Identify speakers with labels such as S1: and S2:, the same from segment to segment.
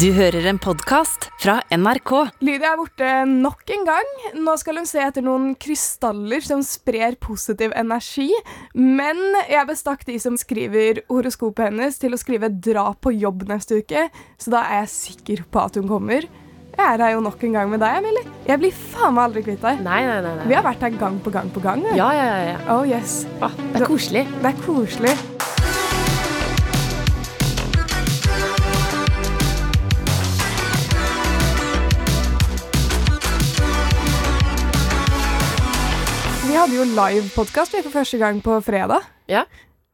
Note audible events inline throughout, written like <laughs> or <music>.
S1: Du hører en podkast fra NRK.
S2: Lydia er borte nok en gang. Nå skal hun se etter noen krystaller som sprer positiv energi. Men jeg bestakk de som skriver horoskopet hennes, til å skrive 'dra på jobb' neste uke, så da er jeg sikker på at hun kommer. Jeg er her jo nok en gang med deg, Emilie. Jeg blir faen meg aldri kvitt deg.
S3: Nei, nei, nei. nei.
S2: Vi har vært her gang på gang på gang. vi.
S3: Ja, ja, ja. ja.
S2: Oh yes.
S3: Ah, det er koselig.
S2: Det er koselig. Vi hadde jo livepodkast for første gang på fredag.
S3: Ja.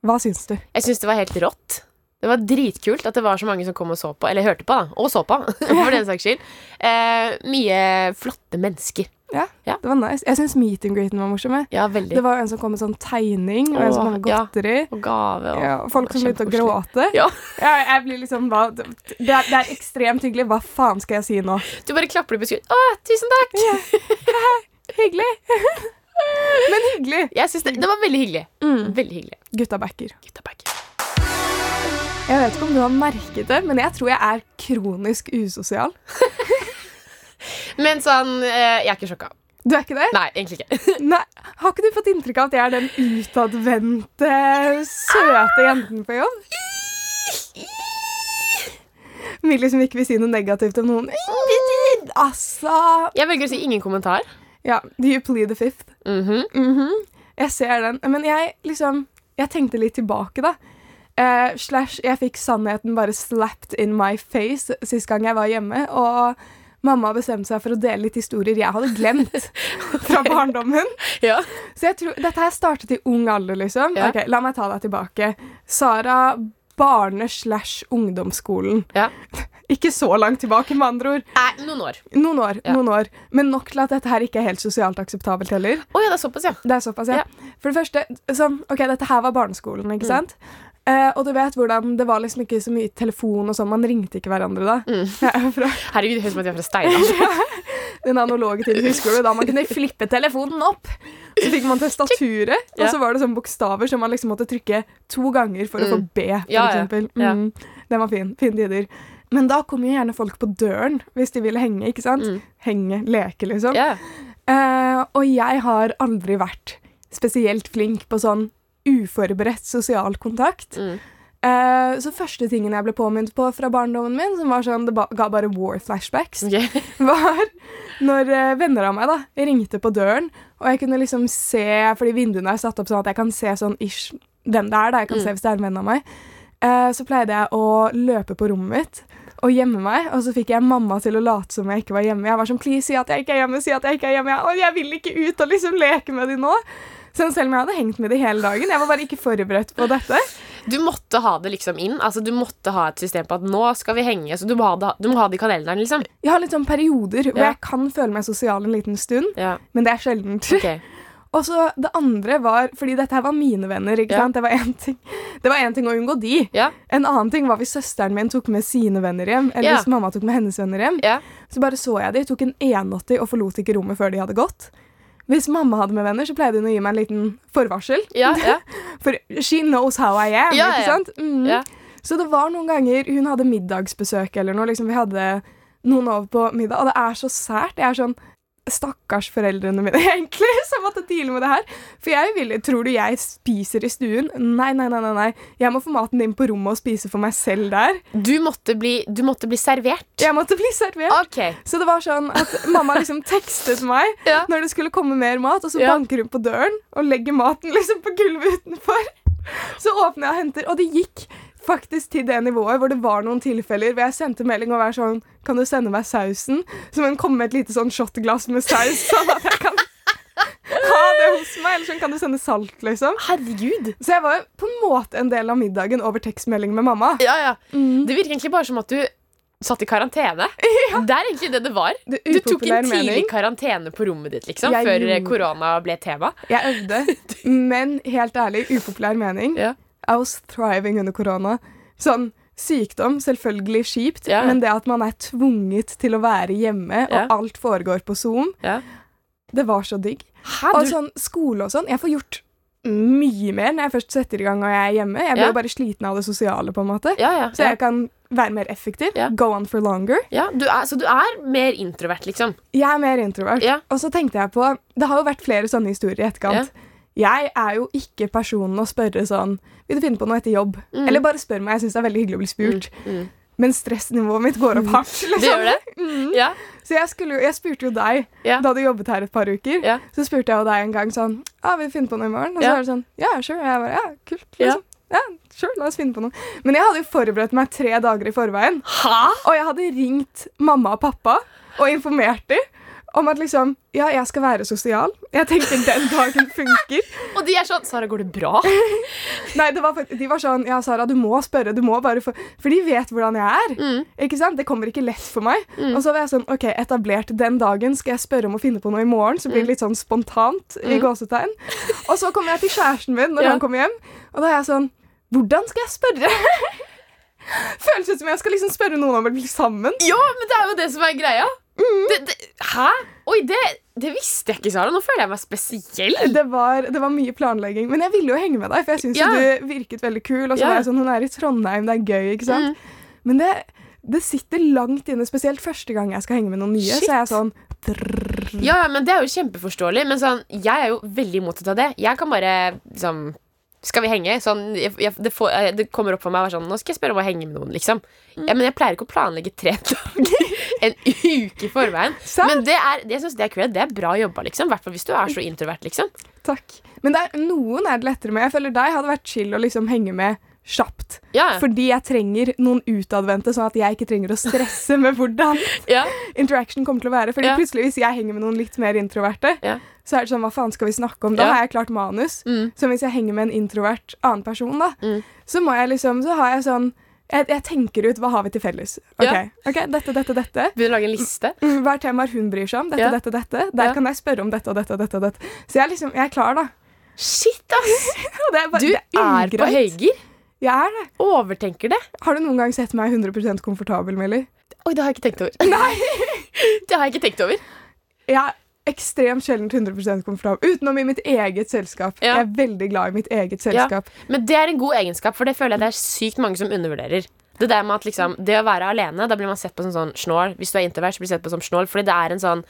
S2: Hva syns du?
S3: Jeg syns det var helt rått. Det var dritkult at det var så mange som kom og så på. Eller hørte på, da. Og så på, <laughs> for den saks skyld. Eh, mye flotte mennesker.
S2: Ja,
S3: Ja.
S2: Det var nice. Jeg syns meet and greeten var morsom. jeg.
S3: Ja, veldig.
S2: Det var jo en som kom med sånn tegning, og en som kom med
S3: Åh, ja.
S2: godteri.
S3: Og gave og
S2: Ja, og folk
S3: Det var
S2: som begynte å
S3: kjempekoselig.
S2: gråte.
S3: Ja.
S2: Jeg, jeg blir liksom hva, det, er, det er ekstremt hyggelig. Hva faen skal jeg si nå?
S3: Du bare klapper dem på skulderen. Å, tusen takk!
S2: Hyggelig. <laughs> Men hyggelig.
S3: Jeg synes det, det var veldig hyggelig. Veldig hyggelig.
S2: Gutta backer.
S3: Gutta back.
S2: Jeg vet ikke om du har merket det, men jeg tror jeg er kronisk usosial.
S3: Men sånn, eh, jeg er ikke sjokka.
S2: Du er ikke det?
S3: Nei, egentlig ikke. <laughs>
S2: Nei. Har ikke du fått inntrykk av at jeg er den utadvendte, søte jenten på jobb? Millie som ikke vil si noe negativt om noen. Altså
S3: Jeg velger å si ingen kommentar.
S2: Ja, do you plead the fifth?
S3: Mhm.
S2: Mhm. Jeg ser den. Men jeg liksom Jeg tenkte litt tilbake, da. Eh, slash, jeg fikk sannheten bare slapped in my face sist gang jeg var hjemme. Og mamma bestemte seg for å dele litt historier jeg hadde
S3: <laughs>
S2: glemt fra barndommen.
S3: Ja.
S2: Så jeg tror, Dette her startet i ung alder, liksom.
S3: Ja.
S2: Ok, La meg ta deg tilbake. Sara barne- slash ungdomsskolen.
S3: ja.
S2: <laughs> Ikke så langt tilbake, med andre ord.
S3: Nei, noen år.
S2: Noen år,
S3: Ja.
S2: noen år. Men nok til at dette her ikke er helt sosialt akseptabelt heller.
S3: Å ja, det er såpass, ja. Mm.
S2: Det er såpass, ja. For det første, sånn, ok, dette her var barneskolen, ikke sant? Eh, og du vet hvordan det var liksom ikke så mye telefon og sånn, man ringte ikke hverandre da.
S3: Mm.
S2: <laughs> Ja, fra
S3: Herregud, det høres ut som at jeg er fra Steinar.
S2: den analoge tiden husker du, da man
S3: <laughs>
S2: kunne flippe telefonen opp. Så fikk man testaturet,
S3: Ja.
S2: og så var det sånne bokstaver som man liksom måtte trykke to ganger for å få B, for
S3: Mm. Ja, ja.
S2: eksempel.
S3: Ja.
S2: Mm. Den var fin, fine tider. Men da kom jo gjerne folk på døren hvis de ville henge, ikke sant?
S3: Mm.
S2: Henge, leke liksom.
S3: <laughs> Ja.
S2: Eh, og jeg har aldri vært spesielt flink på sånn uforberedt sosial kontakt.
S3: Mm.
S2: Eh, så første tingen jeg ble påminnet på fra barndommen min, som var sånn, det ba ga bare war flashbacks,
S3: Ok.
S2: <laughs> var når eh, venner av meg da, ringte på døren, og jeg kunne liksom se, fordi vinduene er satt opp sånn at jeg kan se sånn ish hvem det er, da. jeg kan se hvis det er en venn av meg, eh, så pleide jeg å løpe på rommet mitt og gjemme meg, og så fikk jeg mamma til å late som jeg ikke var hjemme. Jeg var sånn, please, si at jeg ikke er hjemme, si at jeg ikke er hjemme, jeg, å, jeg vil ikke ut og liksom leke med de nå. Så selv om jeg hadde hengt med de hele dagen, jeg var bare ikke forberedt på dette.
S3: Du måtte ha det liksom inn. Altså, du måtte ha et system på at nå skal vi henge. Så du må ha det, du må ha det i kalenderen, liksom.
S2: Jeg har litt sånn perioder hvor
S3: Ja.
S2: jeg kan føle meg sosial en liten stund,
S3: Ja,
S2: men det er sjeldent.
S3: ok.
S2: Og så det andre var, fordi dette her var mine venner, ikke
S3: Ja.
S2: sant? Det var én ting. Det var en ting å unngå de.
S3: Ja,
S2: En annen ting var hvis søsteren min tok med sine venner hjem, eller
S3: Ja.
S2: hvis mamma tok med hennes venner hjem.
S3: ja.
S2: Så bare så jeg de, tok en 180 og forlot ikke rommet før de hadde gått. Hvis mamma hadde med venner, så pleide hun å gi meg en liten forvarsel. <laughs>
S3: Ja, ja.
S2: For she knows how I am,
S3: Ja,
S2: ikke
S3: ja.
S2: sant? Mm.
S3: Ja.
S2: Så det var noen ganger hun hadde middagsbesøk eller noe, liksom vi hadde noen over på middag, og det er så sært. Jeg er sånn, stakkars foreldrene mine <laughs> egentlig, som måtte deale med det her. For jeg vil, tror du jeg spiser i stuen? Nei, nei, nei, nei, nei. Jeg må få maten inn på rommet og spise for meg selv der.
S3: Du måtte bli, du måtte bli servert.
S2: Jeg måtte bli servert.
S3: Ok.
S2: Så det var sånn at mamma liksom tekstet meg
S3: <laughs> Ja.
S2: når det skulle komme mer mat, og så
S3: Ja.
S2: banker hun på døren og legger maten liksom på gulvet utenfor. Så åpner jeg og henter, og det gikk faktisk til det nivået hvor det var noen tilfeller hvor jeg sendte melding og var sånn Kan du sende meg sausen? Så må hun komme med et lite sånn shotglass med saus, <laughs> sånn at jeg kan ha det hos meg. Eller sånn kan du sende salt, liksom.
S3: Herregud.
S2: Så jeg var jo på en måte en del av middagen over tekstmelding med mamma.
S3: Ja, ja.
S2: Mm.
S3: Det virker egentlig bare som at du satt i
S2: <laughs>
S3: karantene. Det er egentlig det det var.
S2: Det er
S3: Du tok
S2: upopulær
S3: en tidlig
S2: mening.
S3: karantene på rommet ditt, liksom,
S2: Jeg
S3: før eh,
S2: gjorde-
S3: korona ble tema.
S2: Jeg øvde, men helt ærlig, upopulær mening.
S3: Ja.
S2: I was thriving under korona. Sånn sykdom, selvfølgelig kjipt,
S3: Ja.
S2: men det at man er tvunget til å være hjemme,
S3: Ja.
S2: og alt foregår på Zoom,
S3: Ja.
S2: det var så digg.
S3: Hæ,
S2: Og
S3: du...
S2: sånn skole og sånn, jeg får gjort mye mer når jeg først setter i gang og jeg er hjemme. Jeg blir
S3: Ja.
S2: jo bare sliten av det sosiale, på en måte.
S3: Ja, ja.
S2: Så jeg kan være mer effektiv.
S3: Ja.
S2: Go on for longer.
S3: Ja, du er, så du er mer introvert, liksom.
S2: Jeg er mer introvert.
S3: Ja.
S2: Og så tenkte jeg på Det har jo vært flere sånne historier i etterkant. Jeg er jo ikke personen å spørre sånn Vil du finne på noe etter jobb?
S3: Mm.
S2: Eller bare spør meg. Jeg syns det er veldig hyggelig å bli spurt.
S3: Mm.
S2: Men stressnivået mitt går opp hardt. <laughs>
S3: Du gjør det?
S2: Mm.
S3: Ja.
S2: Så jeg, skulle, jo- jeg spurte jo deg
S3: Ja.
S2: da du jobbet her et par uker.
S3: Ja.
S2: Så spurte jeg jo deg en gang sånn Ja, vil du finne på noe i morgen? Og så
S3: Ja.
S2: var det sånn Ja, sure. Og jeg bare Ja, kult.
S3: Ja.
S2: Liksom. Ja. sure. La oss finne på noe. Men jeg hadde jo forberedt meg tre dager i forveien.
S3: Hæ?
S2: Og jeg hadde ringt mamma og pappa og informert dem om at liksom, ja, jeg skal være sosial. Jeg tenker den dagen funker.
S3: Og de er sånn Sara, går det bra?
S2: Nei, det var, fakt- De var sånn Ja, Sara, du må spørre. du må bare få... For de vet hvordan jeg er.
S3: Mm.
S2: ikke sant? Det kommer ikke lett for meg. Og så var jeg sånn OK, etablert den dagen. Skal jeg spørre om å finne på noe i morgen? Så
S3: Mm.
S2: blir det litt sånn spontant. i gåsetegn. Og så kommer jeg til kjæresten min når
S3: Ja.
S2: han kommer hjem, og da er jeg sånn Hvordan skal jeg spørre? <laughs> Føles ut som jeg skal liksom spørre noen om å bli sammen.
S3: Ja, men det er jo det som er greia.
S2: Mm.
S3: Det, det, hæ? Oi, det, det visste jeg ikke, Sara. Nå føler jeg meg spesiell.
S2: <laughs> det var, det var mye planlegging. Men jeg ville jo henge med deg, for jeg syns
S3: Ja.
S2: du virket veldig kul. Og så
S3: Ja. Mm.
S2: var jeg sånn, hun er i Trondheim, det er gøy, ikke sant? Men det, det sitter langt inne, spesielt første gang jeg skal henge med noen nye.
S3: Shit.
S2: Så er jeg sånn
S3: Ja, ja, men Det er jo kjempeforståelig. Men sånn, jeg er jo veldig motsatt av det. Jeg kan bare liksom Skal vi henge? Sånn, jeg, jeg, det, får, jeg, det kommer opp for meg og er sånn Nå skal jeg spørre om å henge med noen, liksom.
S2: Mm.
S3: Ja, men jeg pleier ikke å planlegge tre dager. <laughs> En uke i forveien.
S2: Sant.
S3: Men det er, jeg synes det er cred. Det er bra jobba, liksom. I hvert fall hvis du er så introvert, liksom.
S2: Takk. Men det er, noen er det lettere med. Jeg føler deg hadde vært chill å liksom henge med kjapt.
S3: Ja,
S2: Fordi jeg trenger noen utadvendte, sånn at jeg ikke trenger å stresse med hvordan
S3: ja.
S2: interaction kommer til å være. Fordi
S3: Ja.
S2: plutselig Hvis jeg henger med noen litt mer introverte,
S3: Ja.
S2: så er det sånn Hva faen skal vi snakke om? Da
S3: Ja.
S2: har jeg klart manus.
S3: Mm.
S2: Så hvis jeg henger med en introvert annen person, da,
S3: Mm.
S2: så må jeg liksom Så har jeg sånn jeg, jeg tenker ut hva har vi til felles. Ok,
S3: Ja.
S2: ok, Dette, dette, dette.
S3: Begynner å lage en liste.
S2: Mm, Hva er temaer hun bryr seg om? Dette,
S3: Ja.
S2: dette, dette. Der
S3: Ja.
S2: kan jeg spørre om dette og dette og dette. og dette. Så jeg er liksom, jeg er klar, da. <laughs>
S3: Shit, ass!
S2: Og <laughs> det er bare,
S3: Du
S2: det er
S3: er på
S2: ugreit.
S3: høygir.
S2: Jeg er det.
S3: Overtenker det.
S2: Har du noen gang sett meg 100 komfortabel, Millie?
S3: Oi, det har jeg ikke tenkt over. Nei! <laughs> Det har jeg ikke tenkt over.
S2: Jeg er ekstremt sjeldent 100 komfortabel. Utenom i mitt eget selskap.
S3: Ja.
S2: Jeg er veldig glad i mitt eget
S3: Ja.
S2: selskap.
S3: Men det er en god egenskap, for det føler jeg det er sykt mange som undervurderer. Det der med at liksom, det å være alene, da blir man sett på som sånn snål. Hvis du er introvert, så blir du sett på som snål. Fordi det er en sånn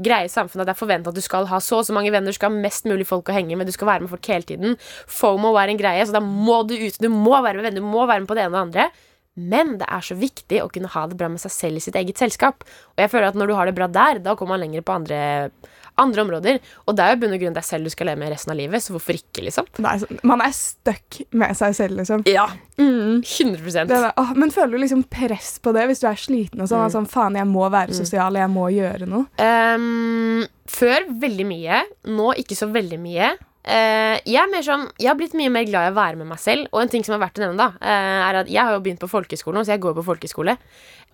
S3: greie i samfunnet at det er forventa at du skal ha så og så mange venner, du skal ha mest mulig folk å henge med, du skal være med folk hele tiden. FOMO er en greie, så da må du ut, du må være med venner, du må være med på det ene og det andre. Men det er så viktig å kunne ha det bra med seg selv i sitt eget selskap. Og jeg føler at når du har det bra der, da kommer man lenger på andre, andre områder. Og det er jo i bunn og grunn deg selv du skal leve med resten av livet, så hvorfor ikke, liksom?
S2: Det er sånn- man er stuck med seg selv, liksom.
S3: Ja, 100
S2: Det der, åh, men føler du liksom press på det hvis du er sliten og sånn?
S3: Mm.
S2: at sånn faen, jeg må være sosial, jeg må gjøre noe.
S3: Ehm, Før veldig mye, nå ikke så veldig mye. Eh, jeg, er mer sånn, jeg har blitt mye mer glad i å være med meg selv. Og en ting som er verdt å nevne da eh, Er at Jeg har jo begynt på folkehøyskole nå, så jeg går på folkehøyskole.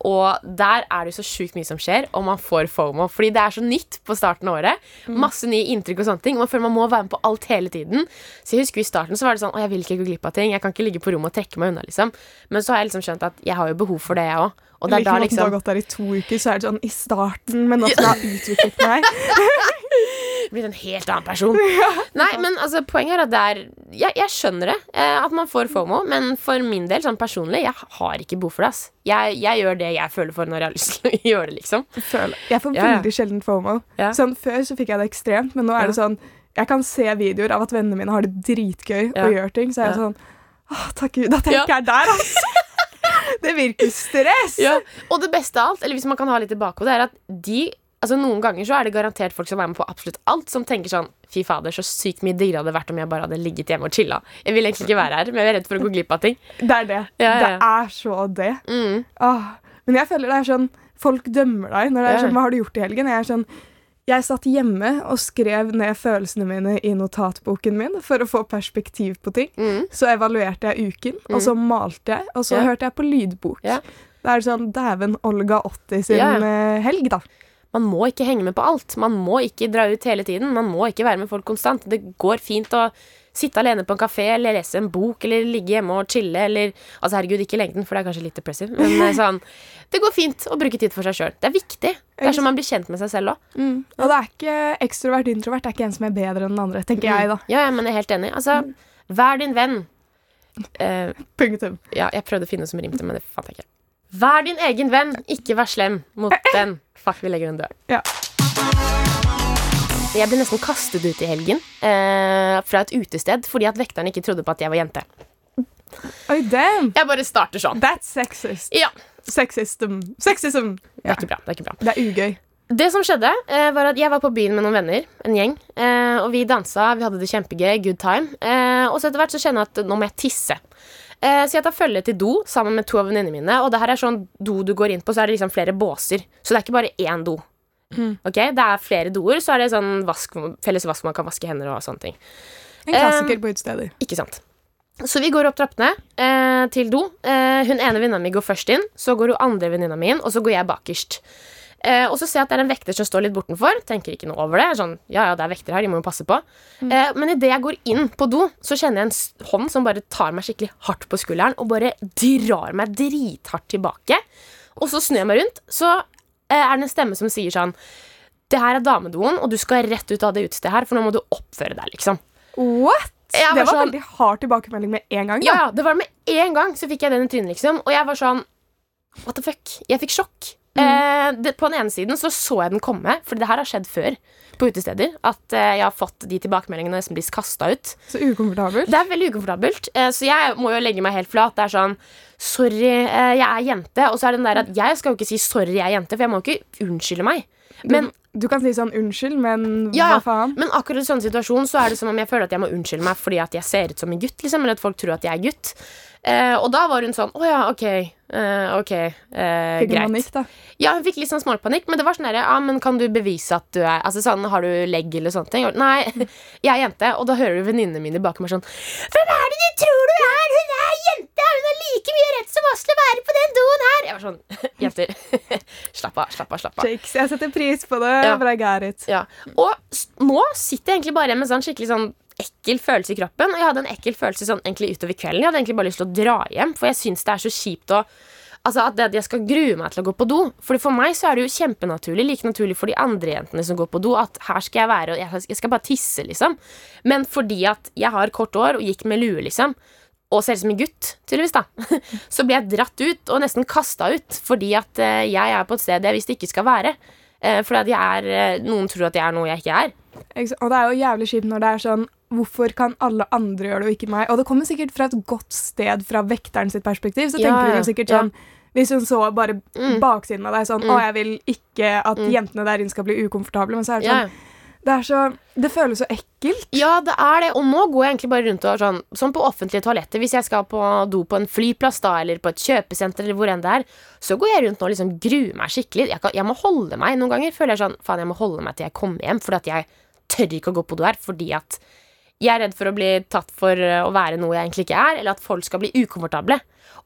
S3: Og der er det jo så sjukt mye som skjer, og man får FOMO. Fordi det er så nytt på starten av året.
S2: Mm.
S3: Masse nye inntrykk og sånne ting. Og man føler man må være med på alt hele tiden. Så jeg husker I starten så var det sånn Å, jeg vil ikke gå glipp av ting. Jeg kan ikke ligge på rommet og trekke meg unna, liksom. Men så har jeg liksom skjønt at jeg har jo behov for det, jeg òg. Og det er
S2: Like
S3: da
S2: måten du
S3: liksom
S2: har gått der i to uker, så er det sånn i starten, men nå som jeg har utviklet
S3: <laughs>
S2: meg.
S3: blitt en helt annen person. Nei, men altså, poenget er at det er Jeg, jeg skjønner det, eh, at man får FOMO, men for min del, sånn personlig, jeg har ikke behov for det. ass. Jeg, jeg gjør det jeg føler for når jeg har lyst til å <laughs> gjøre det, liksom.
S2: Føler. Jeg får
S3: Ja, ja.
S2: veldig sjelden FOMO.
S3: Ja.
S2: Sånn, før så fikk jeg det ekstremt, men nå er det sånn Jeg kan se videoer av at vennene mine har det dritgøy
S3: Ja.
S2: og gjør ting, så er jeg
S3: Ja.
S2: sånn Åh, takk gud, at jeg
S3: Ja.
S2: ikke er der,
S3: <laughs>
S2: altså! Det virker stress!
S3: Og det beste av alt, eller hvis man kan ha litt i bakhodet, er at de Altså Noen ganger så er det garantert folk som er med på absolutt alt, som tenker sånn Fy fader, så sykt mye diggere det hadde vært om jeg bare hadde ligget hjemme og chilla. Jeg vil egentlig ikke være her, men jeg er redd for å gå glipp av ting.
S2: Det er det.
S3: Ja, ja, ja.
S2: Det er så det.
S3: Mm.
S2: Åh, men jeg føler det er sånn Folk dømmer deg når det er
S3: Ja.
S2: sånn Hva har du gjort i helgen? Jeg er sånn jeg satt hjemme og skrev ned følelsene mine i notatboken min for å få perspektiv på ting.
S3: Mm.
S2: Så evaluerte jeg uken, og så malte jeg, og så
S3: Ja.
S2: hørte jeg på lydbok.
S3: Ja.
S2: Det er sånn dæven Olga 80 sin
S3: Ja.
S2: eh, helg, da.
S3: Man må ikke henge med på alt. Man må ikke dra ut hele tiden. Man må ikke være med folk konstant. Det går fint å sitte alene på en kafé eller lese en bok eller ligge hjemme og chille eller Altså herregud, ikke i lengden, for det er kanskje litt depressive, men eh, sånn Det går fint å bruke tid for seg sjøl. Det er viktig. Det er som man blir kjent med seg selv òg.
S2: Og det er ikke ekstrovert introvert, det er ikke en som er bedre enn den andre, tenker
S3: Mm.
S2: jeg, da.
S3: Ja, ja, men jeg er helt enig. Altså, vær din venn. Eh,
S2: Punktum.
S3: ja, jeg prøvde å finne noe som rimte, men det fant jeg ikke. Vær din egen venn, ikke vær slem <laughs> mot den. Fuck, vi legger den død.
S2: Ja.
S3: Jeg ble nesten kastet ut i helgen eh, fra et utested fordi at vekteren ikke trodde på at jeg var jente.
S2: Oi, damn!
S3: Jeg bare starter sånn.
S2: That's sexist.
S3: Ja,
S2: Sexism. Sexism!
S3: det er ikke bra. Det er ikke bra.
S2: Det er ugøy.
S3: Det som skjedde, eh, var at jeg var på byen med noen venner, en gjeng, eh, og vi dansa, vi hadde det kjempegøy, good time, eh, og så etter hvert så kjenner jeg at nå må jeg tisse. Eh, så jeg tar følge til do sammen med to av venninnene mine, og det her er sånn do du går inn på, så er det liksom flere båser, så det er ikke bare én do. Ok, Det er flere doer, så er det sånn vask, felles vask hvor man kan vaske hender og sånne ting.
S2: En klassiker på utesteder.
S3: Ikke sant. Så vi går opp trappene eh, til do. Eh, hun ene venninna mi går først inn, så går hun andre venninna mi inn, og så går jeg bakerst. Eh, og så ser jeg at det er en vekter som står litt bortenfor. Tenker ikke noe over det. er Sånn, ja, ja, det er vekter her, de må jo passe på. Eh, men idet jeg går inn på do, så kjenner jeg en s- hånd som bare tar meg skikkelig hardt på skulderen og bare drar meg drithardt tilbake. Og så snur jeg meg rundt, så eh, er det en stemme som sier sånn Det her er damedoen, og du skal rett ut av det utestedet her, for nå må du oppføre deg, liksom.
S2: What?!
S3: Jeg
S2: det
S3: var
S2: var
S3: sånn-
S2: veldig hard tilbakemelding med en gang.
S3: Ja,
S2: Da.
S3: ja, det var med en gang så fikk jeg den i trynet, liksom. Og jeg var sånn What the fuck? Jeg fikk sjokk. Eh, det, på den ene siden så så jeg den komme, for det her har skjedd før på utesteder. At eh, jeg har fått de tilbakemeldingene som blir kasta ut.
S2: Så ukomfortabelt.
S3: Det er veldig ukomfortabelt, eh, så jeg må jo legge meg helt flat. Det er sånn Sorry, eh, jeg er jente. Og så er det den der at jeg skal jo ikke si sorry, jeg er jente, for jeg må jo ikke unnskylde meg. Men
S2: Du kan si sånn 'unnskyld, men
S3: Ja,
S2: hva faen?'
S3: men akkurat i sånn situasjon så er det som om jeg føler at jeg må unnskylde meg fordi at jeg ser ut som en gutt, liksom, eller at folk tror at jeg er gutt. Eh, og da var hun sånn Å ja, ok. eh, ok, eh,
S2: Fikk en
S3: greit.
S2: panikk, da.
S3: Ja, hun fikk litt sånn småpanikk, men det var sånn der, ja, men kan du bevise at du er Altså sånn, har du legg eller sånne ting? Og, Nei, <laughs> jeg er jente. Og da hører du venninnene mine bak meg sånn Hvem er det du tror du er? Hun er jente! Hun har like mye rett som oss til å være på den doen her! Jeg var sånn <laughs> Jenter, slapp av, slapp av, slapp av.
S2: Jakes. Jeg setter pris på det,
S3: Ja.
S2: for I got it.
S3: Ja. Og s- nå sitter jeg egentlig bare med sånn skikkelig sånn ekkel følelse i kroppen. Og jeg hadde en ekkel følelse sånn egentlig utover kvelden. Jeg hadde egentlig bare lyst til å dra hjem, for jeg syns det er så kjipt å Altså at det at jeg skal grue meg til å gå på do. Fordi For meg så er det jo kjempenaturlig, like naturlig for de andre jentene som går på do, at her skal jeg være og jeg- jeg skal bare tisse, liksom. Men fordi at jeg har kort hår og gikk med lue, liksom, og ser ut som en gutt, tydeligvis, da, <laughs> så ble jeg dratt ut og nesten kasta ut fordi at eh, jeg er på et sted jeg visst ikke skal være. Eh, Fordi at jeg er, eh, noen tror at jeg er noe jeg ikke er.
S2: Ikke sant? Og det er jo jævlig kjipt når det er sånn Hvorfor kan alle andre gjøre det, og ikke meg? Og det kommer sikkert fra et godt sted fra vekteren sitt perspektiv. Så
S3: Ja,
S2: tenker
S3: ja,
S2: hun sikkert
S3: ja. Mm.
S2: sånn Hvis hun så bare baksiden av deg sånn Å, jeg vil ikke at jentene der inne skal bli ukomfortable. Men så er det sånn Det, er så, det føles så ekkelt.
S3: Ja, det er det. Og nå går jeg egentlig bare rundt og sånn Som på offentlige toaletter, hvis jeg skal på do på en flyplass da, eller på et kjøpesenter, eller hvor enn det er, så går jeg rundt nå og liksom gruer meg skikkelig. Jeg, kan, jeg må holde meg. Noen ganger føler jeg sånn Faen, jeg må holde meg til jeg kommer hjem, fordi at jeg tør ikke å gå på do her, fordi at jeg er redd for å bli tatt for eh, å være noe jeg egentlig ikke er, eller at folk skal bli ukomfortable.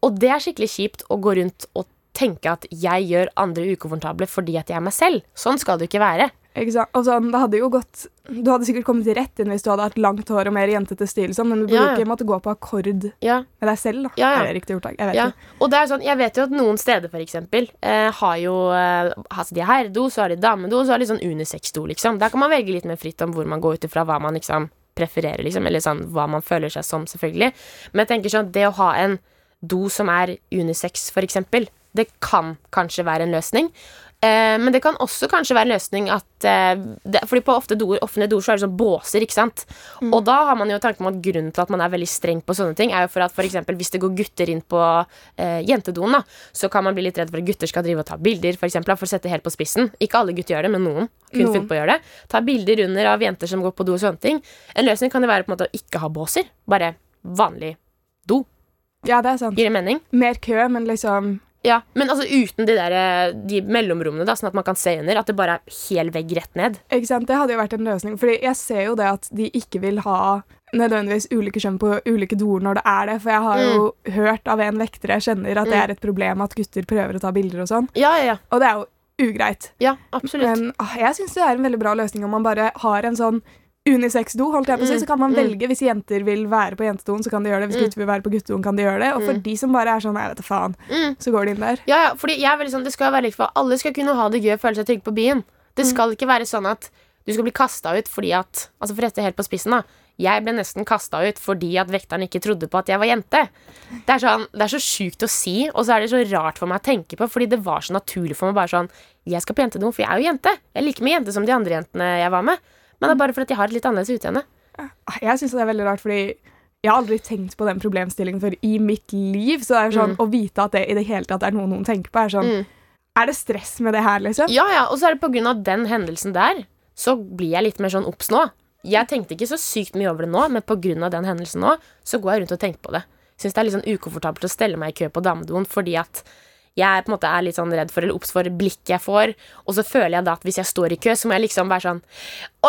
S3: Og det er skikkelig kjipt å gå rundt og tenke at jeg gjør andre ukomfortable fordi at jeg er meg selv. Sånn skal det jo ikke være.
S2: Ikke sant? Og sånn, det hadde jo gått Du hadde sikkert kommet rett inn hvis du hadde hatt langt hår og mer jentete stil, sånn, men du burde
S3: Ja, ja.
S2: ikke måtte gå på akkord med
S3: Ja,
S2: deg selv. da
S3: Ja, ja.
S2: Er det riktig ordtak? Jeg vet
S3: Ja,
S2: ikke.
S3: og det er sånn, jeg vet jo at noen steder for eksempel eh, har jo eh, altså de har herredo, så har de damedo, så har de sånn unisex-do, liksom. Der kan man velge litt mer fritt om hvor man går ut ifra hva man liksom prefererer, liksom, eller sånn hva man føler seg som, selvfølgelig. Men jeg tenker sånn, det å ha en do som er unisex, for eksempel, det kan kanskje være en løsning. Eh, men det kan også kanskje være en løsning at eh, det, Fordi på ofte doer, offentlige doer så er det sånn båser, ikke sant. Og da har man jo tanken om at grunnen til at man er veldig streng på sånne ting, er jo for at for eksempel hvis det går gutter inn på eh, jentedoen, da, så kan man bli litt redd for at gutter skal drive og ta bilder, for eksempel, da, for å sette det helt på spissen. Ikke alle gutter gjør det, men noen kunne
S2: Noen.
S3: funnet på å gjøre det. Ta bilder under av jenter som går på do og sånne ting. En løsning kan jo være på en måte å ikke ha båser. Bare vanlig do.
S2: Ja, det er sant.
S3: Gir det mening?
S2: Mer kø, men liksom
S3: Ja, men altså uten de, der, de mellomrommene, da, sånn at man kan se under. At det bare er hel vegg rett ned.
S2: Ikke sant? Det hadde jo vært en løsning. Fordi jeg ser jo det at de ikke vil ha nødvendigvis ulike kjønn på ulike doer når det er det. For jeg har jo
S3: Mm.
S2: hørt av en vekter jeg kjenner at det er et problem at gutter prøver å ta bilder og sånn.
S3: Ja, ja, ja.
S2: Og det er jo ugreit.
S3: ja absolutt.
S2: Men ah, jeg syns det er en veldig bra løsning om man bare har en sånn unisex-do, holdt jeg på å si,
S3: Mm.
S2: så kan man velge. Hvis jenter vil være på jentedoen, så kan de gjøre det. Hvis gutter vil være på guttedoen, kan de gjøre det. Og for de som bare er sånn, jeg vet da faen,
S3: Mm.
S2: så går de inn der.
S3: ja, ja, fordi jeg er veldig sånn, det skal være likt for Alle skal kunne ha det gøy og føle seg trygge på byen. Det skal ikke være sånn at du skal bli kasta ut fordi at Altså for å rette det helt på spissen, da. Jeg ble nesten kasta ut fordi at vekteren ikke trodde på at jeg var jente. Det er, sånn, det er så sjukt å si, og så er det så rart for meg å tenke på, fordi det var så naturlig for meg bare sånn Jeg skal på jentedo, for jeg er jo jente. Jeg er like mye jente som de andre jentene jeg var med. Men det er bare fordi at jeg har et litt annerledes utseende.
S2: Ah, Jeg syns det er veldig rart, fordi jeg har aldri tenkt på den problemstillingen før i mitt liv. Så det er
S3: Mm.
S2: sånn, å vite at det i det hele tatt er noe noen tenker på, er sånn Er det stress med det her, liksom?
S3: Ja, ja, og så er det på grunn av den hendelsen der, så blir jeg litt mer sånn obs nå. Jeg tenkte ikke så sykt mye over det nå, men på grunn av den hendelsen nå, så går jeg rundt og tenker på det. Syns det er litt sånn ukomfortabelt å stelle meg i kø på damedoen fordi at jeg på en måte er litt sånn redd for eller obs for blikket jeg får. Og så føler jeg da at hvis jeg står i kø, så må jeg liksom være sånn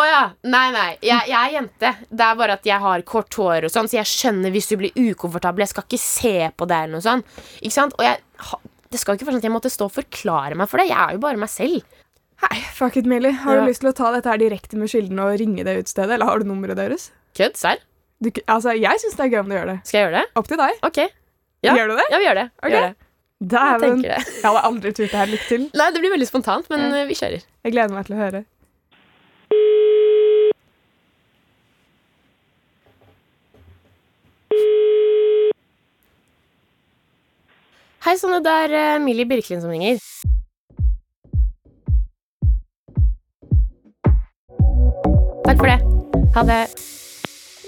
S3: Å ja, nei, nei, jeg, jeg er jente. Det er bare at jeg har kort hår og sånn, så jeg skjønner hvis du blir ukomfortabel. Jeg skal ikke se på deg eller noe sånt. Ikke sant? Og jeg, ha- det skal jo ikke være sånn at jeg måtte stå og forklare meg for det. Jeg er jo bare meg selv.
S2: Hei, fuck it, Millie. Har
S3: Ja.
S2: du lyst til å ta dette her direkte med kilden og ringe det utestedet, eller har du nummeret deres?
S3: Kødd? Serr?
S2: Du, k- altså, jeg syns det er gøy om du gjør det.
S3: Skal jeg gjøre det?
S2: Opp til deg.
S3: Ok. Ja.
S2: Gjør du det?
S3: Ja, vi gjør det. Vi
S2: Ok.
S3: gjør det. Jeg
S2: Dæven.
S3: tenker det.
S2: Jeg hadde aldri turt det her. Lykke til.
S3: Nei, det blir veldig spontant, men eh, vi kjører.
S2: Jeg gleder meg til å høre.
S3: Hei, Sanne. Det er eh, Millie Birkelin som ringer. Takk for det. Ha det.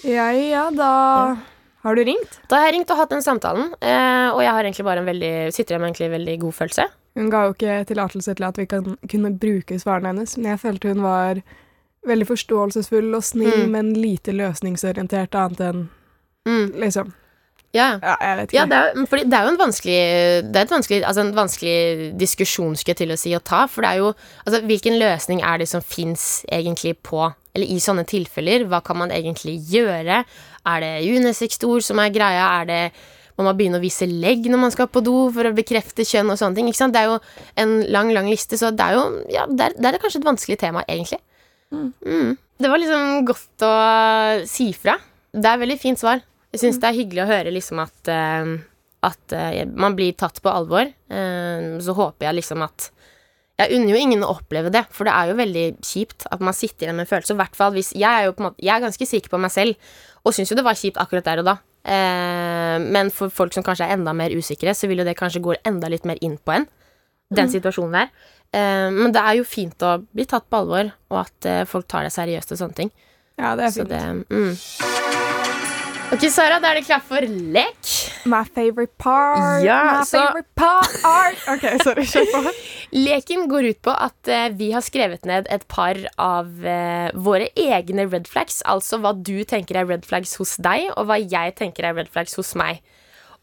S2: Ja ja, da Har du ringt?
S3: Da har jeg ringt og hatt den samtalen, eh, og jeg har egentlig bare en veldig, sitter igjen med egentlig en veldig god følelse.
S2: Hun ga jo ikke tillatelse til at vi kan, kunne bruke svarene hennes, men jeg følte hun var veldig forståelsesfull og snill,
S3: Mm.
S2: men lite løsningsorientert, annet enn
S3: Mm.
S2: liksom
S3: Ja, ja.
S2: Ja, jeg vet ikke.
S3: Ja, det er, jo- men fordi det er jo en vanskelig, det er et vanskelig, altså en vanskelig diskusjon skulle jeg til å si å ta. For det er jo altså, Hvilken løsning er det som fins egentlig på Eller i sånne tilfeller? Hva kan man egentlig gjøre? Er det unisex-ord som er greia? Er det må man begynne å vise legg når man skal på do for å bekrefte kjønn og sånne ting? Ikke sant? Det er jo en lang, lang liste, så det er jo ja, det er, det er kanskje et vanskelig tema, egentlig. Mm. Det var liksom godt å si fra. Det er veldig fint svar. Jeg syns det er hyggelig å høre liksom at, eh, at eh, man blir tatt på alvor. Eh, så håper jeg liksom at Jeg unner jo ingen å oppleve det, for det er jo veldig kjipt at man sitter igjen med en følelse. Og hvert fall hvis Jeg er jo på en måte Jeg er ganske sikker på meg selv, og syns jo det var kjipt akkurat der og da. Eh, men for folk som kanskje er enda mer usikre, så vil jo det kanskje gå enda litt mer inn på en. Den situasjonen der. Eh, men det er jo fint å bli tatt på alvor, og at eh, folk tar det seriøst og sånne ting.
S2: ja, det er
S3: Så
S2: fint.
S3: det, mm. Ok, Sara, da er det klart for lek.
S2: My favorite part,
S3: Ja,
S2: my
S3: så-
S2: favorite part. OK,
S3: <laughs>
S2: sorry. Kjør på.
S3: Leken går ut på at eh, vi har skrevet ned et par av eh, våre egne red flags. Altså hva du tenker er red flags hos deg, og hva jeg tenker er red flags hos meg.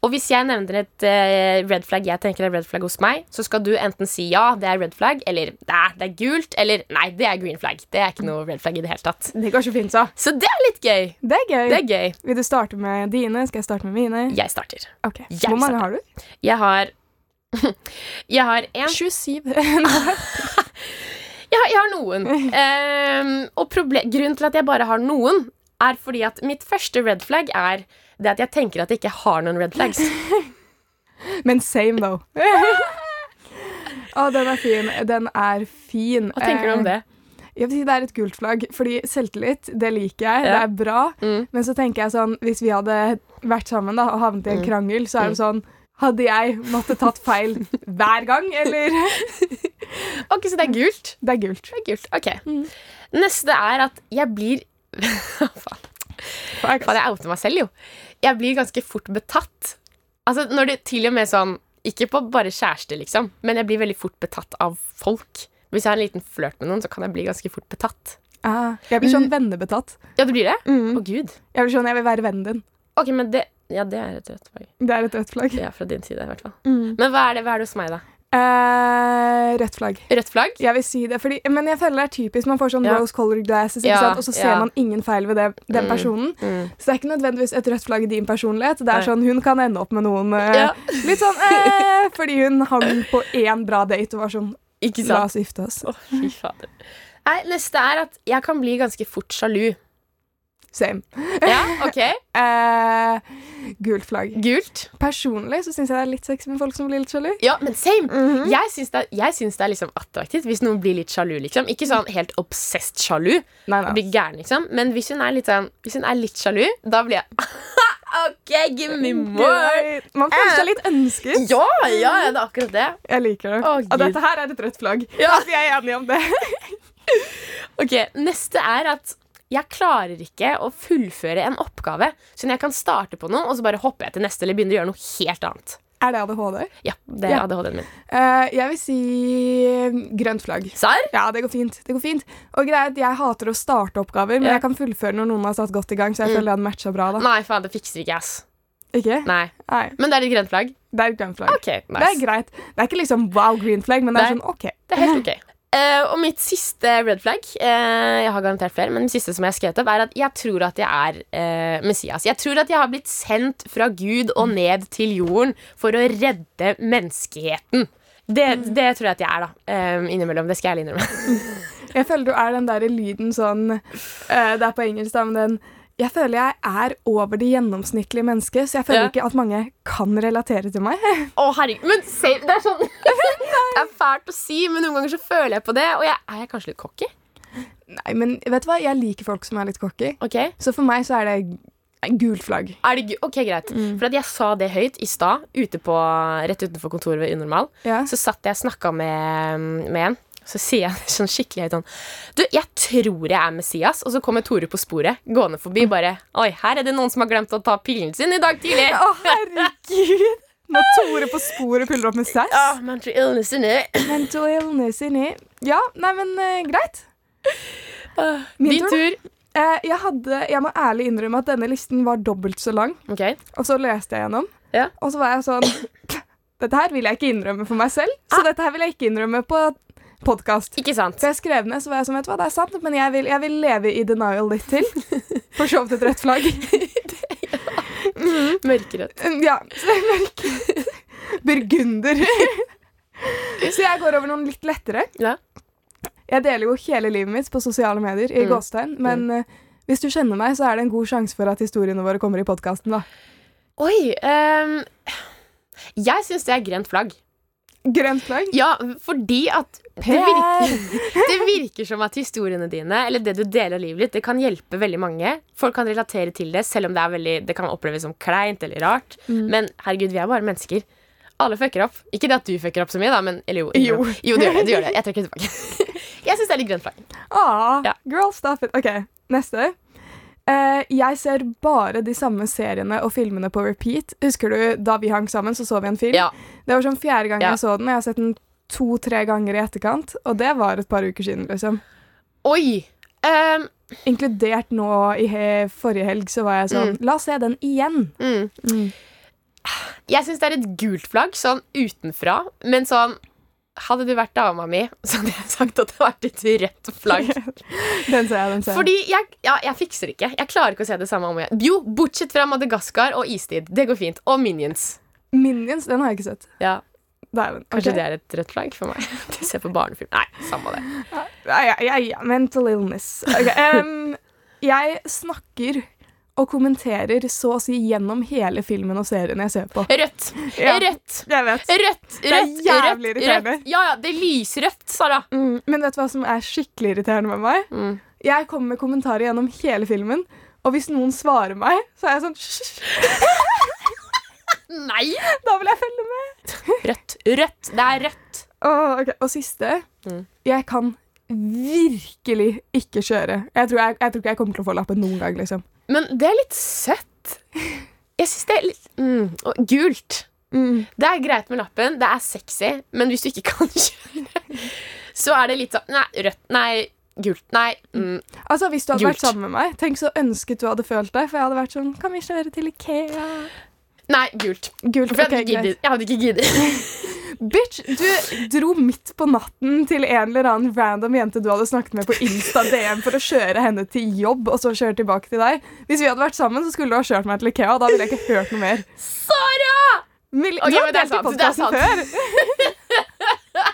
S3: Og hvis jeg nevner et eh, red flag jeg tenker er red flag hos meg, så skal du enten si ja, det er red flag, eller nei, det er gult, eller nei, det er green flag. Det er ikke noe red flag i det hele tatt.
S2: Det går så fint, så.
S3: Så det er litt gøy.
S2: Det er gøy.
S3: Det er gøy.
S2: Vil du starte med dine? Skal jeg starte med mine?
S3: Jeg starter.
S2: Ok,
S3: Jeg
S2: Hvor mange
S3: starter.
S2: har du?
S3: Jeg har <laughs> Jeg har en
S2: 27.
S3: Jeg har, jeg har noen. Ehm, og proble grunnen til at jeg bare har noen, er fordi at mitt første red flag er det at jeg tenker at jeg ikke har noen red flags.
S2: Men same, though. Å, den er fin. Den er fin. Eh,
S3: Hva tenker du om det?
S2: Jeg vil si det er et gult flagg, fordi selvtillit, det liker jeg, det
S3: Ja.
S2: er bra.
S3: Mm.
S2: Men så tenker jeg sånn, hvis vi hadde vært sammen da, og havnet i
S3: Mm.
S2: en krangel, så er det sånn, hadde jeg måtte tatt feil hver gang,
S3: <laughs>
S2: eller?
S3: Ok, så det er gult.
S2: Det er gult.
S3: Det er gult. Ok. Neste er at jeg blir <laughs> Faen,
S2: Fuck.
S3: faen, jeg outer meg selv, jo. Jeg blir ganske fort betatt. Altså, når det til og med sånn Ikke på bare kjæreste, liksom, men jeg blir veldig fort betatt av folk. Hvis jeg har en liten flørt med noen, så kan jeg bli ganske fort betatt.
S2: Ah, jeg blir sånn
S3: Mm.
S2: vennebetatt.
S3: Ja, du blir det? Å,
S2: Mm.
S3: gud.
S2: Jeg blir sånn, jeg vil være vennen din.
S3: Ok, men det Ja, det er et rødt flagg.
S2: Det er et rødt flagg.
S3: Ja, fra din side, i hvert fall.
S2: Mm.
S3: Men hva er det, hva er det hos meg, da?
S2: Eh, rødt flagg.
S3: Rødt flagg?
S2: Jeg vil si det, fordi, men jeg føler det er typisk, man får sånn
S3: Ja.
S2: rose colored glasses, ikke
S3: Ja,
S2: sant? Og så ser
S3: ja.
S2: man ingen feil ved det, den
S3: Mm.
S2: personen. Så det er ikke nødvendigvis et rødt flagg i din personlighet. Det er
S3: Nei.
S2: sånn, Hun kan ende opp med noen eh,
S3: Ja.
S2: litt sånn eh,
S3: <laughs>
S2: Fordi hun hang på én bra date og var sånn
S3: Ikke
S2: La
S3: sant?
S2: oss gifte oss.
S3: Å, fy fader. Nei, neste er at jeg kan bli ganske fort sjalu.
S2: Same.
S3: Ja, OK.
S2: Eh, gult flagg.
S3: Gult.
S2: Personlig så syns jeg det er litt sexy med folk som blir litt sjalu.
S3: Ja, men same.
S2: Mhm.
S3: Jeg syns det, er- jeg syns det er liksom attraktivt hvis noen blir litt sjalu. liksom Ikke sånn helt obsessed sjalu,
S2: Nei,
S3: og
S2: nei.
S3: blir gæren, liksom. Men hvis hun er litt sånn Hvis hun er litt sjalu, da blir jeg <laughs> OK, give me
S2: Mm,
S3: more.
S2: Greit. Man føler seg litt ønsket.
S3: Eh. Ja, ja, ja, det er akkurat det.
S2: Jeg liker det.
S3: Å,
S2: og
S3: Gud.
S2: dette her er et rødt flagg. <laughs>
S3: Ja.
S2: Vi er enige om det.
S3: Ok, Neste er at jeg klarer ikke å fullføre en oppgave. Så jeg kan starte på noe, og så bare hopper jeg til neste eller begynner å gjøre noe helt annet.
S2: Er det ADHD?
S3: Ja, det er
S2: Ja.
S3: ADHD-en min.
S2: Eh, jeg vil si grønt flagg.
S3: Serr?
S2: Ja, det går fint. det går fint Og greit, Jeg hater å starte oppgaver, men
S3: Ja. Mm.
S2: jeg kan fullføre når noen har satt godt i gang. Så jeg føler det hadde matcha bra. da
S3: Nei, faen, det fikser ikke jeg, ass.
S2: Ikke?
S3: Nei.
S2: Nei,
S3: Men det er et grønt flagg.
S2: Det er grønt flagg.
S3: Ok, nice.
S2: Det er greit. Det er ikke liksom wow, green flag, men det er
S3: Nei.
S2: sånn OK.
S3: Det er helt ok. Eh, og mitt siste red flag eh, Jeg har garantert flere, men det siste som jeg har skrevet opp, er at jeg tror at jeg er eh, Messias. Jeg tror at jeg har blitt sendt fra Gud og ned til jorden for å redde menneskeheten. Det, det tror jeg at jeg er, da. eh, innimellom. Det skal jeg ærlig innrømme.
S2: Jeg føler du er den der lyden sånn eh, Det er på engelsk, da, men den Jeg føler jeg er over det gjennomsnittlige mennesket, så jeg føler
S3: Ja.
S2: ikke at mange kan relatere til meg.
S3: Å, herregud. Men se, det er sånn <laughs> Det er fælt å si, men noen ganger så føler jeg på det. Og jeg er jeg kanskje litt cocky.
S2: Nei, men vet du hva? Jeg liker folk som er litt cocky,
S3: Ok?
S2: så for meg så er det gult flagg.
S3: Er det, gu- ok, greit. For at jeg sa det høyt i stad, ute på- rett utenfor kontoret ved Unormal.
S2: Ja.
S3: Så satt jeg og snakka med, med en. Så sier jeg <laughs> sånn skikkelig høyt sånn Du, jeg tror jeg er Messias. Og så kommer Tore på sporet gående forbi bare Oi, her er det noen som har glemt å ta pillen sin i dag tidlig.
S2: Å, herregud! Når Tore på sporet puller opp med saus.
S3: Ah, mental illness in it.
S2: Mental illness inni. Ja, nei, men eh, greit. Min
S3: Din
S2: tur, da.
S3: tur.
S2: Eh, jeg, hadde, jeg må ærlig innrømme at denne listen var dobbelt så lang,
S3: Ok,
S2: og så leste jeg gjennom.
S3: Ja.
S2: Og så var jeg sånn Dette her vil jeg ikke innrømme for meg selv, så dette her vil jeg ikke innrømme på podkast.
S3: Ikke sant?
S2: Så jeg skrev ned, så var jeg sånn, vet du hva, det er sant, men jeg vil, jeg vil leve i denial litt <laughs> til. For så vidt et rødt flagg.
S3: Mørkerødt.
S2: <laughs> Ja, så det er mørk. Burgunder. <laughs> Så jeg går over noen litt lettere.
S3: Ja.
S2: Jeg deler jo hele livet mitt på sosiale medier, i
S3: Mm.
S2: gåstegn. Men eh, hvis du kjenner meg, så er det en god sjanse for at historiene våre kommer i podkasten, da.
S3: Oi. ehm, jeg syns det er grønt flagg.
S2: Grønt flagg.
S3: Ja, fordi at det virker, det virker som at historiene dine Eller det du deler av livet ditt Det kan hjelpe veldig mange Folk kan relatere til det Selv om det, er veldig, det kan oppleves som kleint eller rart Men herregud, vi er bare mennesker Alle fucker opp Ikke det at du fucker opp så mye da men, Eller jo,
S2: Jo.
S3: jo. du gjør det, du gjør det Jeg trekker det tilbake <laughs> Jeg synes det er litt grønt flagg
S2: Ah,
S3: Ja.
S2: girl, stop it. OK, neste. Eh, jeg ser bare de samme seriene og filmene på repeat. Husker du da vi hang sammen, så så vi en film?
S3: Ja,
S2: Det var sånn fjerde gang
S3: Ja.
S2: jeg så den, og jeg har sett den to-tre ganger i etterkant. Og det var et par uker siden, liksom.
S3: oi Ehm,
S2: Inkludert nå i he forrige helg, så var jeg sånn La oss se den igjen.
S3: mm.
S2: Mm.
S3: Jeg synes det er et gult flagg Sånn utenfra Men sånn Hadde du vært dama mi Så hadde jeg sagt at det var et rødt flagg
S2: Den ser jeg, den ser jeg.
S3: Fordi jeg, ja, jeg fikser det ikke. Jeg klarer ikke å se det samme om igjen. Jo, bortsett fra Madagaskar og Istid. Det går fint. Og Minions.
S2: Minions, den har jeg ikke sett.
S3: Ja,
S2: Dæven.
S3: Kanskje
S2: ok.
S3: det er et rødt flagg for meg. <laughs> Du ser på barnefilm. Nei, samme det.
S2: Ja, ja, ja, ja. Mental illness. Ok, em, jeg snakker og kommenterer så å si gjennom hele filmen og serien jeg ser på.
S3: Rødt.
S2: Ja.
S3: Rødt.
S2: Jeg vet.
S3: Rødt,
S2: er
S3: rødt, rødt,
S2: jævlig irriterende.
S3: rødt. Ja, ja, det er lysrødt, Sara.
S2: Mm, men vet du hva som er skikkelig irriterende med meg?
S3: Mm.
S2: Jeg kommer med kommentarer gjennom hele filmen, og hvis noen svarer meg, så er jeg sånn «Hysj,
S3: Nei!
S2: Da vil jeg følge med.
S3: Rødt, rødt. Det er rødt.
S2: Åh, ok. Og siste.
S3: Mm.
S2: Jeg kan virkelig ikke kjøre. Jeg tror, jeg, jeg tror ikke jeg kommer til å få lappen noen gang, liksom.
S3: Men det er litt søtt. Jeg syns det er litt mm, og Gult.
S2: Mm.
S3: Det er greit med lappen, det er sexy, men hvis du ikke kan <laughs> kjøre, så er det litt sånn Nei, rødt. Nei, gult. Nei. Mm.
S2: Altså, Hvis du hadde
S3: Gult.
S2: vært sammen med meg, tenk så ønsket du hadde følt deg. For jeg hadde vært sånn Kan vi kjøre til Ikea?
S3: Nei, gult.
S2: Gult.
S3: For jeg
S2: ok,
S3: hadde ikke
S2: greit.
S3: giddet. Jeg hadde ikke
S2: <laughs>
S3: giddet.
S2: Bitch, du dro midt på natten til en eller annen random jente du hadde snakket med på Insta DM for å kjøre henne til jobb, og så kjøre tilbake til deg. Hvis vi hadde vært sammen, så skulle du ha kjørt meg til Ikea, og da ville jeg ikke hørt noe mer.
S3: Sara!
S2: Mil
S3: Ok,
S2: du har
S3: men det er
S2: delt i
S3: sant, det er
S2: podcasten før.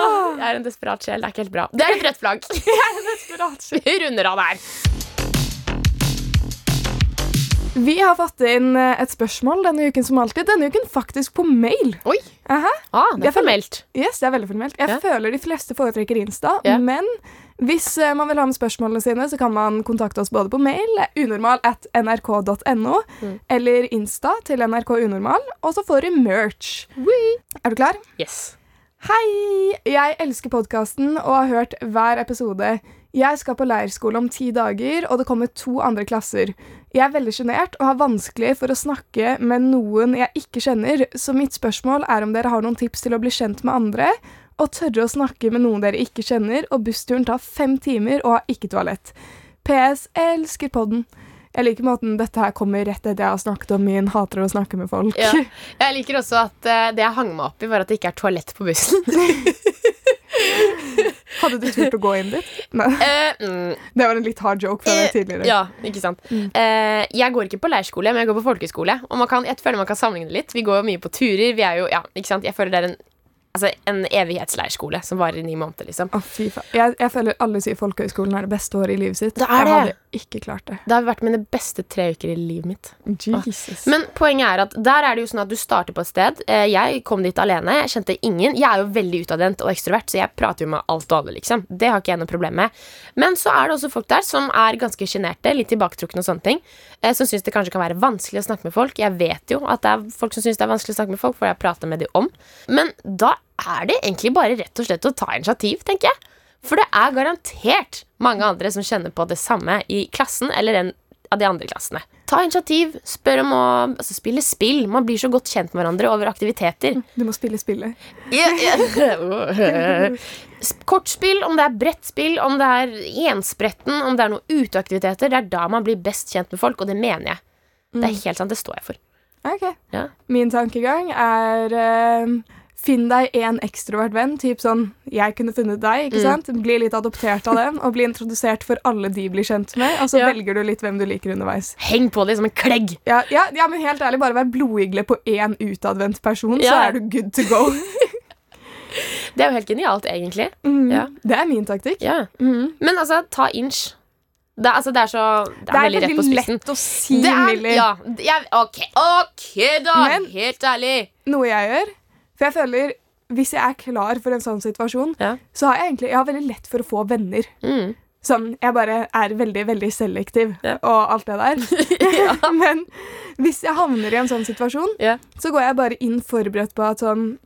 S3: Åh,
S2: <laughs>
S3: jeg er en desperat sjel. <laughs> Det er ikke helt bra. Det er et rødt flagg. <laughs>
S2: Jeg er en desperat sjel.
S3: Vi runder av der.
S2: Vi har fått inn eh, et spørsmål denne uken som alltid. Denne uken faktisk på mail.
S3: Oi.
S2: Aha.
S3: Ah, det
S2: Jeg
S3: er formelt.
S2: Yes, det er veldig formelt. Jeg
S3: Ja.
S2: føler de fleste foretrekker Insta,
S3: Ja.
S2: men hvis eh, man vil ha med spørsmålene sine, så kan man kontakte oss både på mail unormal at nrk.no
S3: Mm.
S2: eller Insta til NRK Unormal, og så får du merch. Er du klar?
S3: Yes.
S2: Hei! Jeg elsker podkasten og har hørt hver episode. Jeg skal på leirskole om ti dager, og det kommer to andre klasser. Jeg er veldig sjenert og har vanskelig for å snakke med noen jeg ikke kjenner, så mitt spørsmål er om dere har noen tips til å bli kjent med andre, og tørre å snakke med noen dere ikke kjenner, og bussturen tar fem timer og har ikke toalett. PS. Elsker podden. Jeg liker måten dette her kommer rett etter jeg har snakket om min hater å snakke med folk.
S3: Ja. Jeg liker også at eh, det jeg hang meg opp i, var at det ikke er toalett på bussen.
S2: <laughs>
S3: <laughs>
S2: Hadde du turt å gå inn dit? Nei.
S3: Eh, mm,
S2: Det var en litt hard joke fra deg
S3: eh,
S2: tidligere. Mm.
S3: Ja, ikke sant. Eh, jeg går ikke på leirskole, men jeg går på folkeskole. Og man kan, jeg føler man kan sammenligne det litt. Vi går jo mye på turer. Vi er jo, ja, ikke sant? Jeg føler det er en, altså, en evighetsleirskole som varer i ni måneder, liksom.
S2: Å, fy faen. Jeg, jeg føler alle sier folkehøyskolen er det beste året i livet sitt.
S3: Det er
S2: Jeg hadde
S3: det.
S2: ikke klart det.
S3: Det har vært mine beste tre uker i livet mitt.
S2: Jesus.
S3: Men poenget er at der er det jo sånn at du starter på et sted. Eh, Jeg kom dit alene. Jeg kjente ingen. Jeg er jo veldig utadvendt og ekstrovert, så jeg prater jo med alt og alle. liksom. Det har ikke jeg noe problem med. Men så er det også folk der som er ganske sjenerte, litt tilbaketrukne og sånne ting. eh, Som syns det kanskje kan være vanskelig å snakke med folk. Jeg vet jo at det er folk som syns det er vanskelig å snakke med folk, for jeg prater med dem om. Men da er det egentlig bare rett og slett å ta initiativ, tenker jeg. For det er garantert mange andre som kjenner på det samme i klassen eller en av de andre klassene. Ta initiativ, spør om å altså, spille spill. Man blir så godt kjent med hverandre over aktiviteter.
S2: Du må spille spillet.
S3: <laughs> Sp- Kortspill, om det er brettspill, om det er enspretten, om det er noen uteaktiviteter. Det er da man blir best kjent med folk, og det mener jeg. Det er helt sant, det står jeg for.
S2: Ok.
S3: Ja.
S2: Min tankegang er eh, Finn deg en ekstrovert venn, typ sånn jeg kunne funnet deg.
S3: Mm.
S2: ikke sant? Bli litt adoptert av dem, og bli introdusert for alle de blir kjent med. Og så
S3: Ja.
S2: velger du litt hvem du liker underveis.
S3: Heng på det som en klegg.
S2: Ja, ja, ja, men helt ærlig, bare vær blodigle på én utadvendt person, så
S3: Ja.
S2: er du good to go.
S3: <laughs> Det er jo helt genialt, egentlig.
S2: Mm.
S3: Ja.
S2: Det er min taktikk.
S3: Ja. Men altså, ta inch. Det, er- altså, det er så Det er, veldig rett på spissen.
S2: lett å si,
S3: Det er,
S2: Millie.
S3: ja, jeg, ok, ok da,
S2: Men-
S3: helt ærlig
S2: Noe jeg gjør. For jeg føler hvis jeg er klar for en sånn situasjon,
S3: Ja.
S2: så har jeg egentlig jeg har veldig lett for å få venner.
S3: mm.
S2: Sånn, Jeg bare er veldig veldig selektiv
S3: Ja.
S2: og alt det der.
S3: <laughs>
S2: <laughs> Men hvis jeg havner i en sånn situasjon,
S3: Ja.
S2: så går jeg bare inn forberedt på at sånn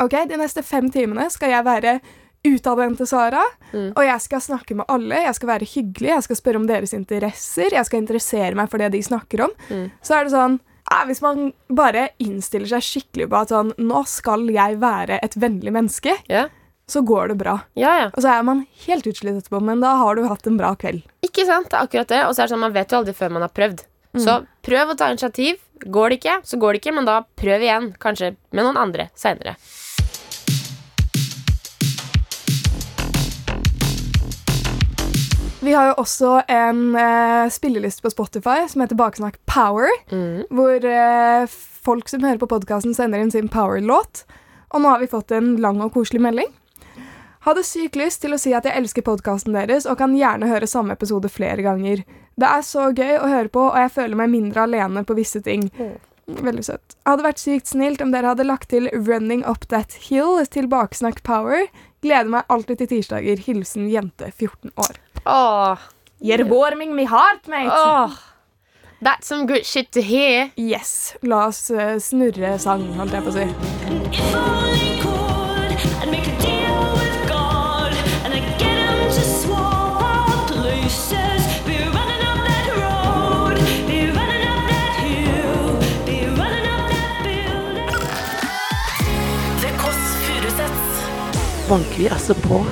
S2: OK, de neste fem timene skal jeg være utadvendte Sara,
S3: Mm.
S2: og jeg skal snakke med alle, jeg skal være hyggelig, jeg skal spørre om deres interesser, jeg skal interessere meg for det de snakker om.
S3: Mm.
S2: Så er det sånn eh, Hvis man bare innstiller seg skikkelig på at sånn Nå skal jeg være et vennlig menneske,
S3: Ja.
S2: så går det bra.
S3: Ja, ja
S2: Og så er man helt utslitt etterpå, men da har du hatt en bra kveld.
S3: Ikke sant, det er akkurat det Og så er det sånn, man vet jo aldri før man har prøvd Så prøv å ta initiativ Går det ikke, så går det ikke Men da prøv igjen, kanskje med noen andre senere
S2: Vi har jo også en eh, spilleliste på Spotify som heter Baksnakk Power,
S3: Mhm.
S2: hvor eh, folk som hører på podkasten, sender inn sin Power-låt. Og nå har vi fått en lang og koselig melding. Hadde sykt lyst til å si at jeg elsker podkasten deres og kan gjerne høre samme episode flere ganger. Det er så gøy å høre på, og jeg føler meg mindre alene på visse ting. Veldig søtt. Hadde vært sykt snilt om dere hadde lagt til 'Running Up That Hill' til Baksnakk Power. Gleder meg alltid til tirsdager. Hilsen jente 14 år.
S3: Åh,
S2: You're warming me heart, mate!
S3: åh That's some good shit to hear
S2: Yes. La oss eh, snurre sang, holdt jeg på å si.
S4: If only could, I'd make a deal with God, and I'd get him to swap our places. Be running up that road, be running up that hill, be running up that building.
S5: Det Kåss Furuseths. Banker vi altså på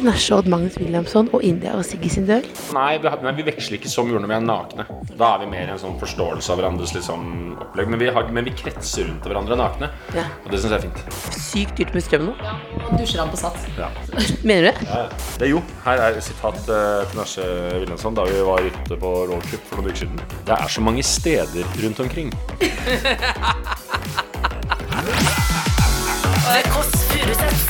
S5: til Nasha Odd Magnus Williamson og India og Siggy sin dør?
S6: Nei, vi, har- nei, vi veksler ikke så mye når vi er nakne. Da er vi mer i en sånn forståelse av hverandres liksom, opplegg. Men vi, har, men vi kretser rundt hverandre nakne,
S5: Ja.
S6: og det syns jeg er fint.
S5: Sykt dyrt med strøm nå.
S7: Dusjer han på sats.
S6: Ja.
S5: Mener du det?
S6: Det, jo, her er et sitat eh, til Nasje Wilhelmsson da vi var ute på roadtrip for noen uker siden. Det er så mange steder rundt omkring.
S5: Det Kåss Furuseths.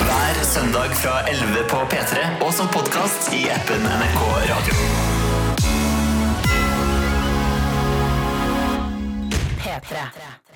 S8: Hver søndag fra 11 på P3 og som podkast i appen NRK Radio.
S5: P3.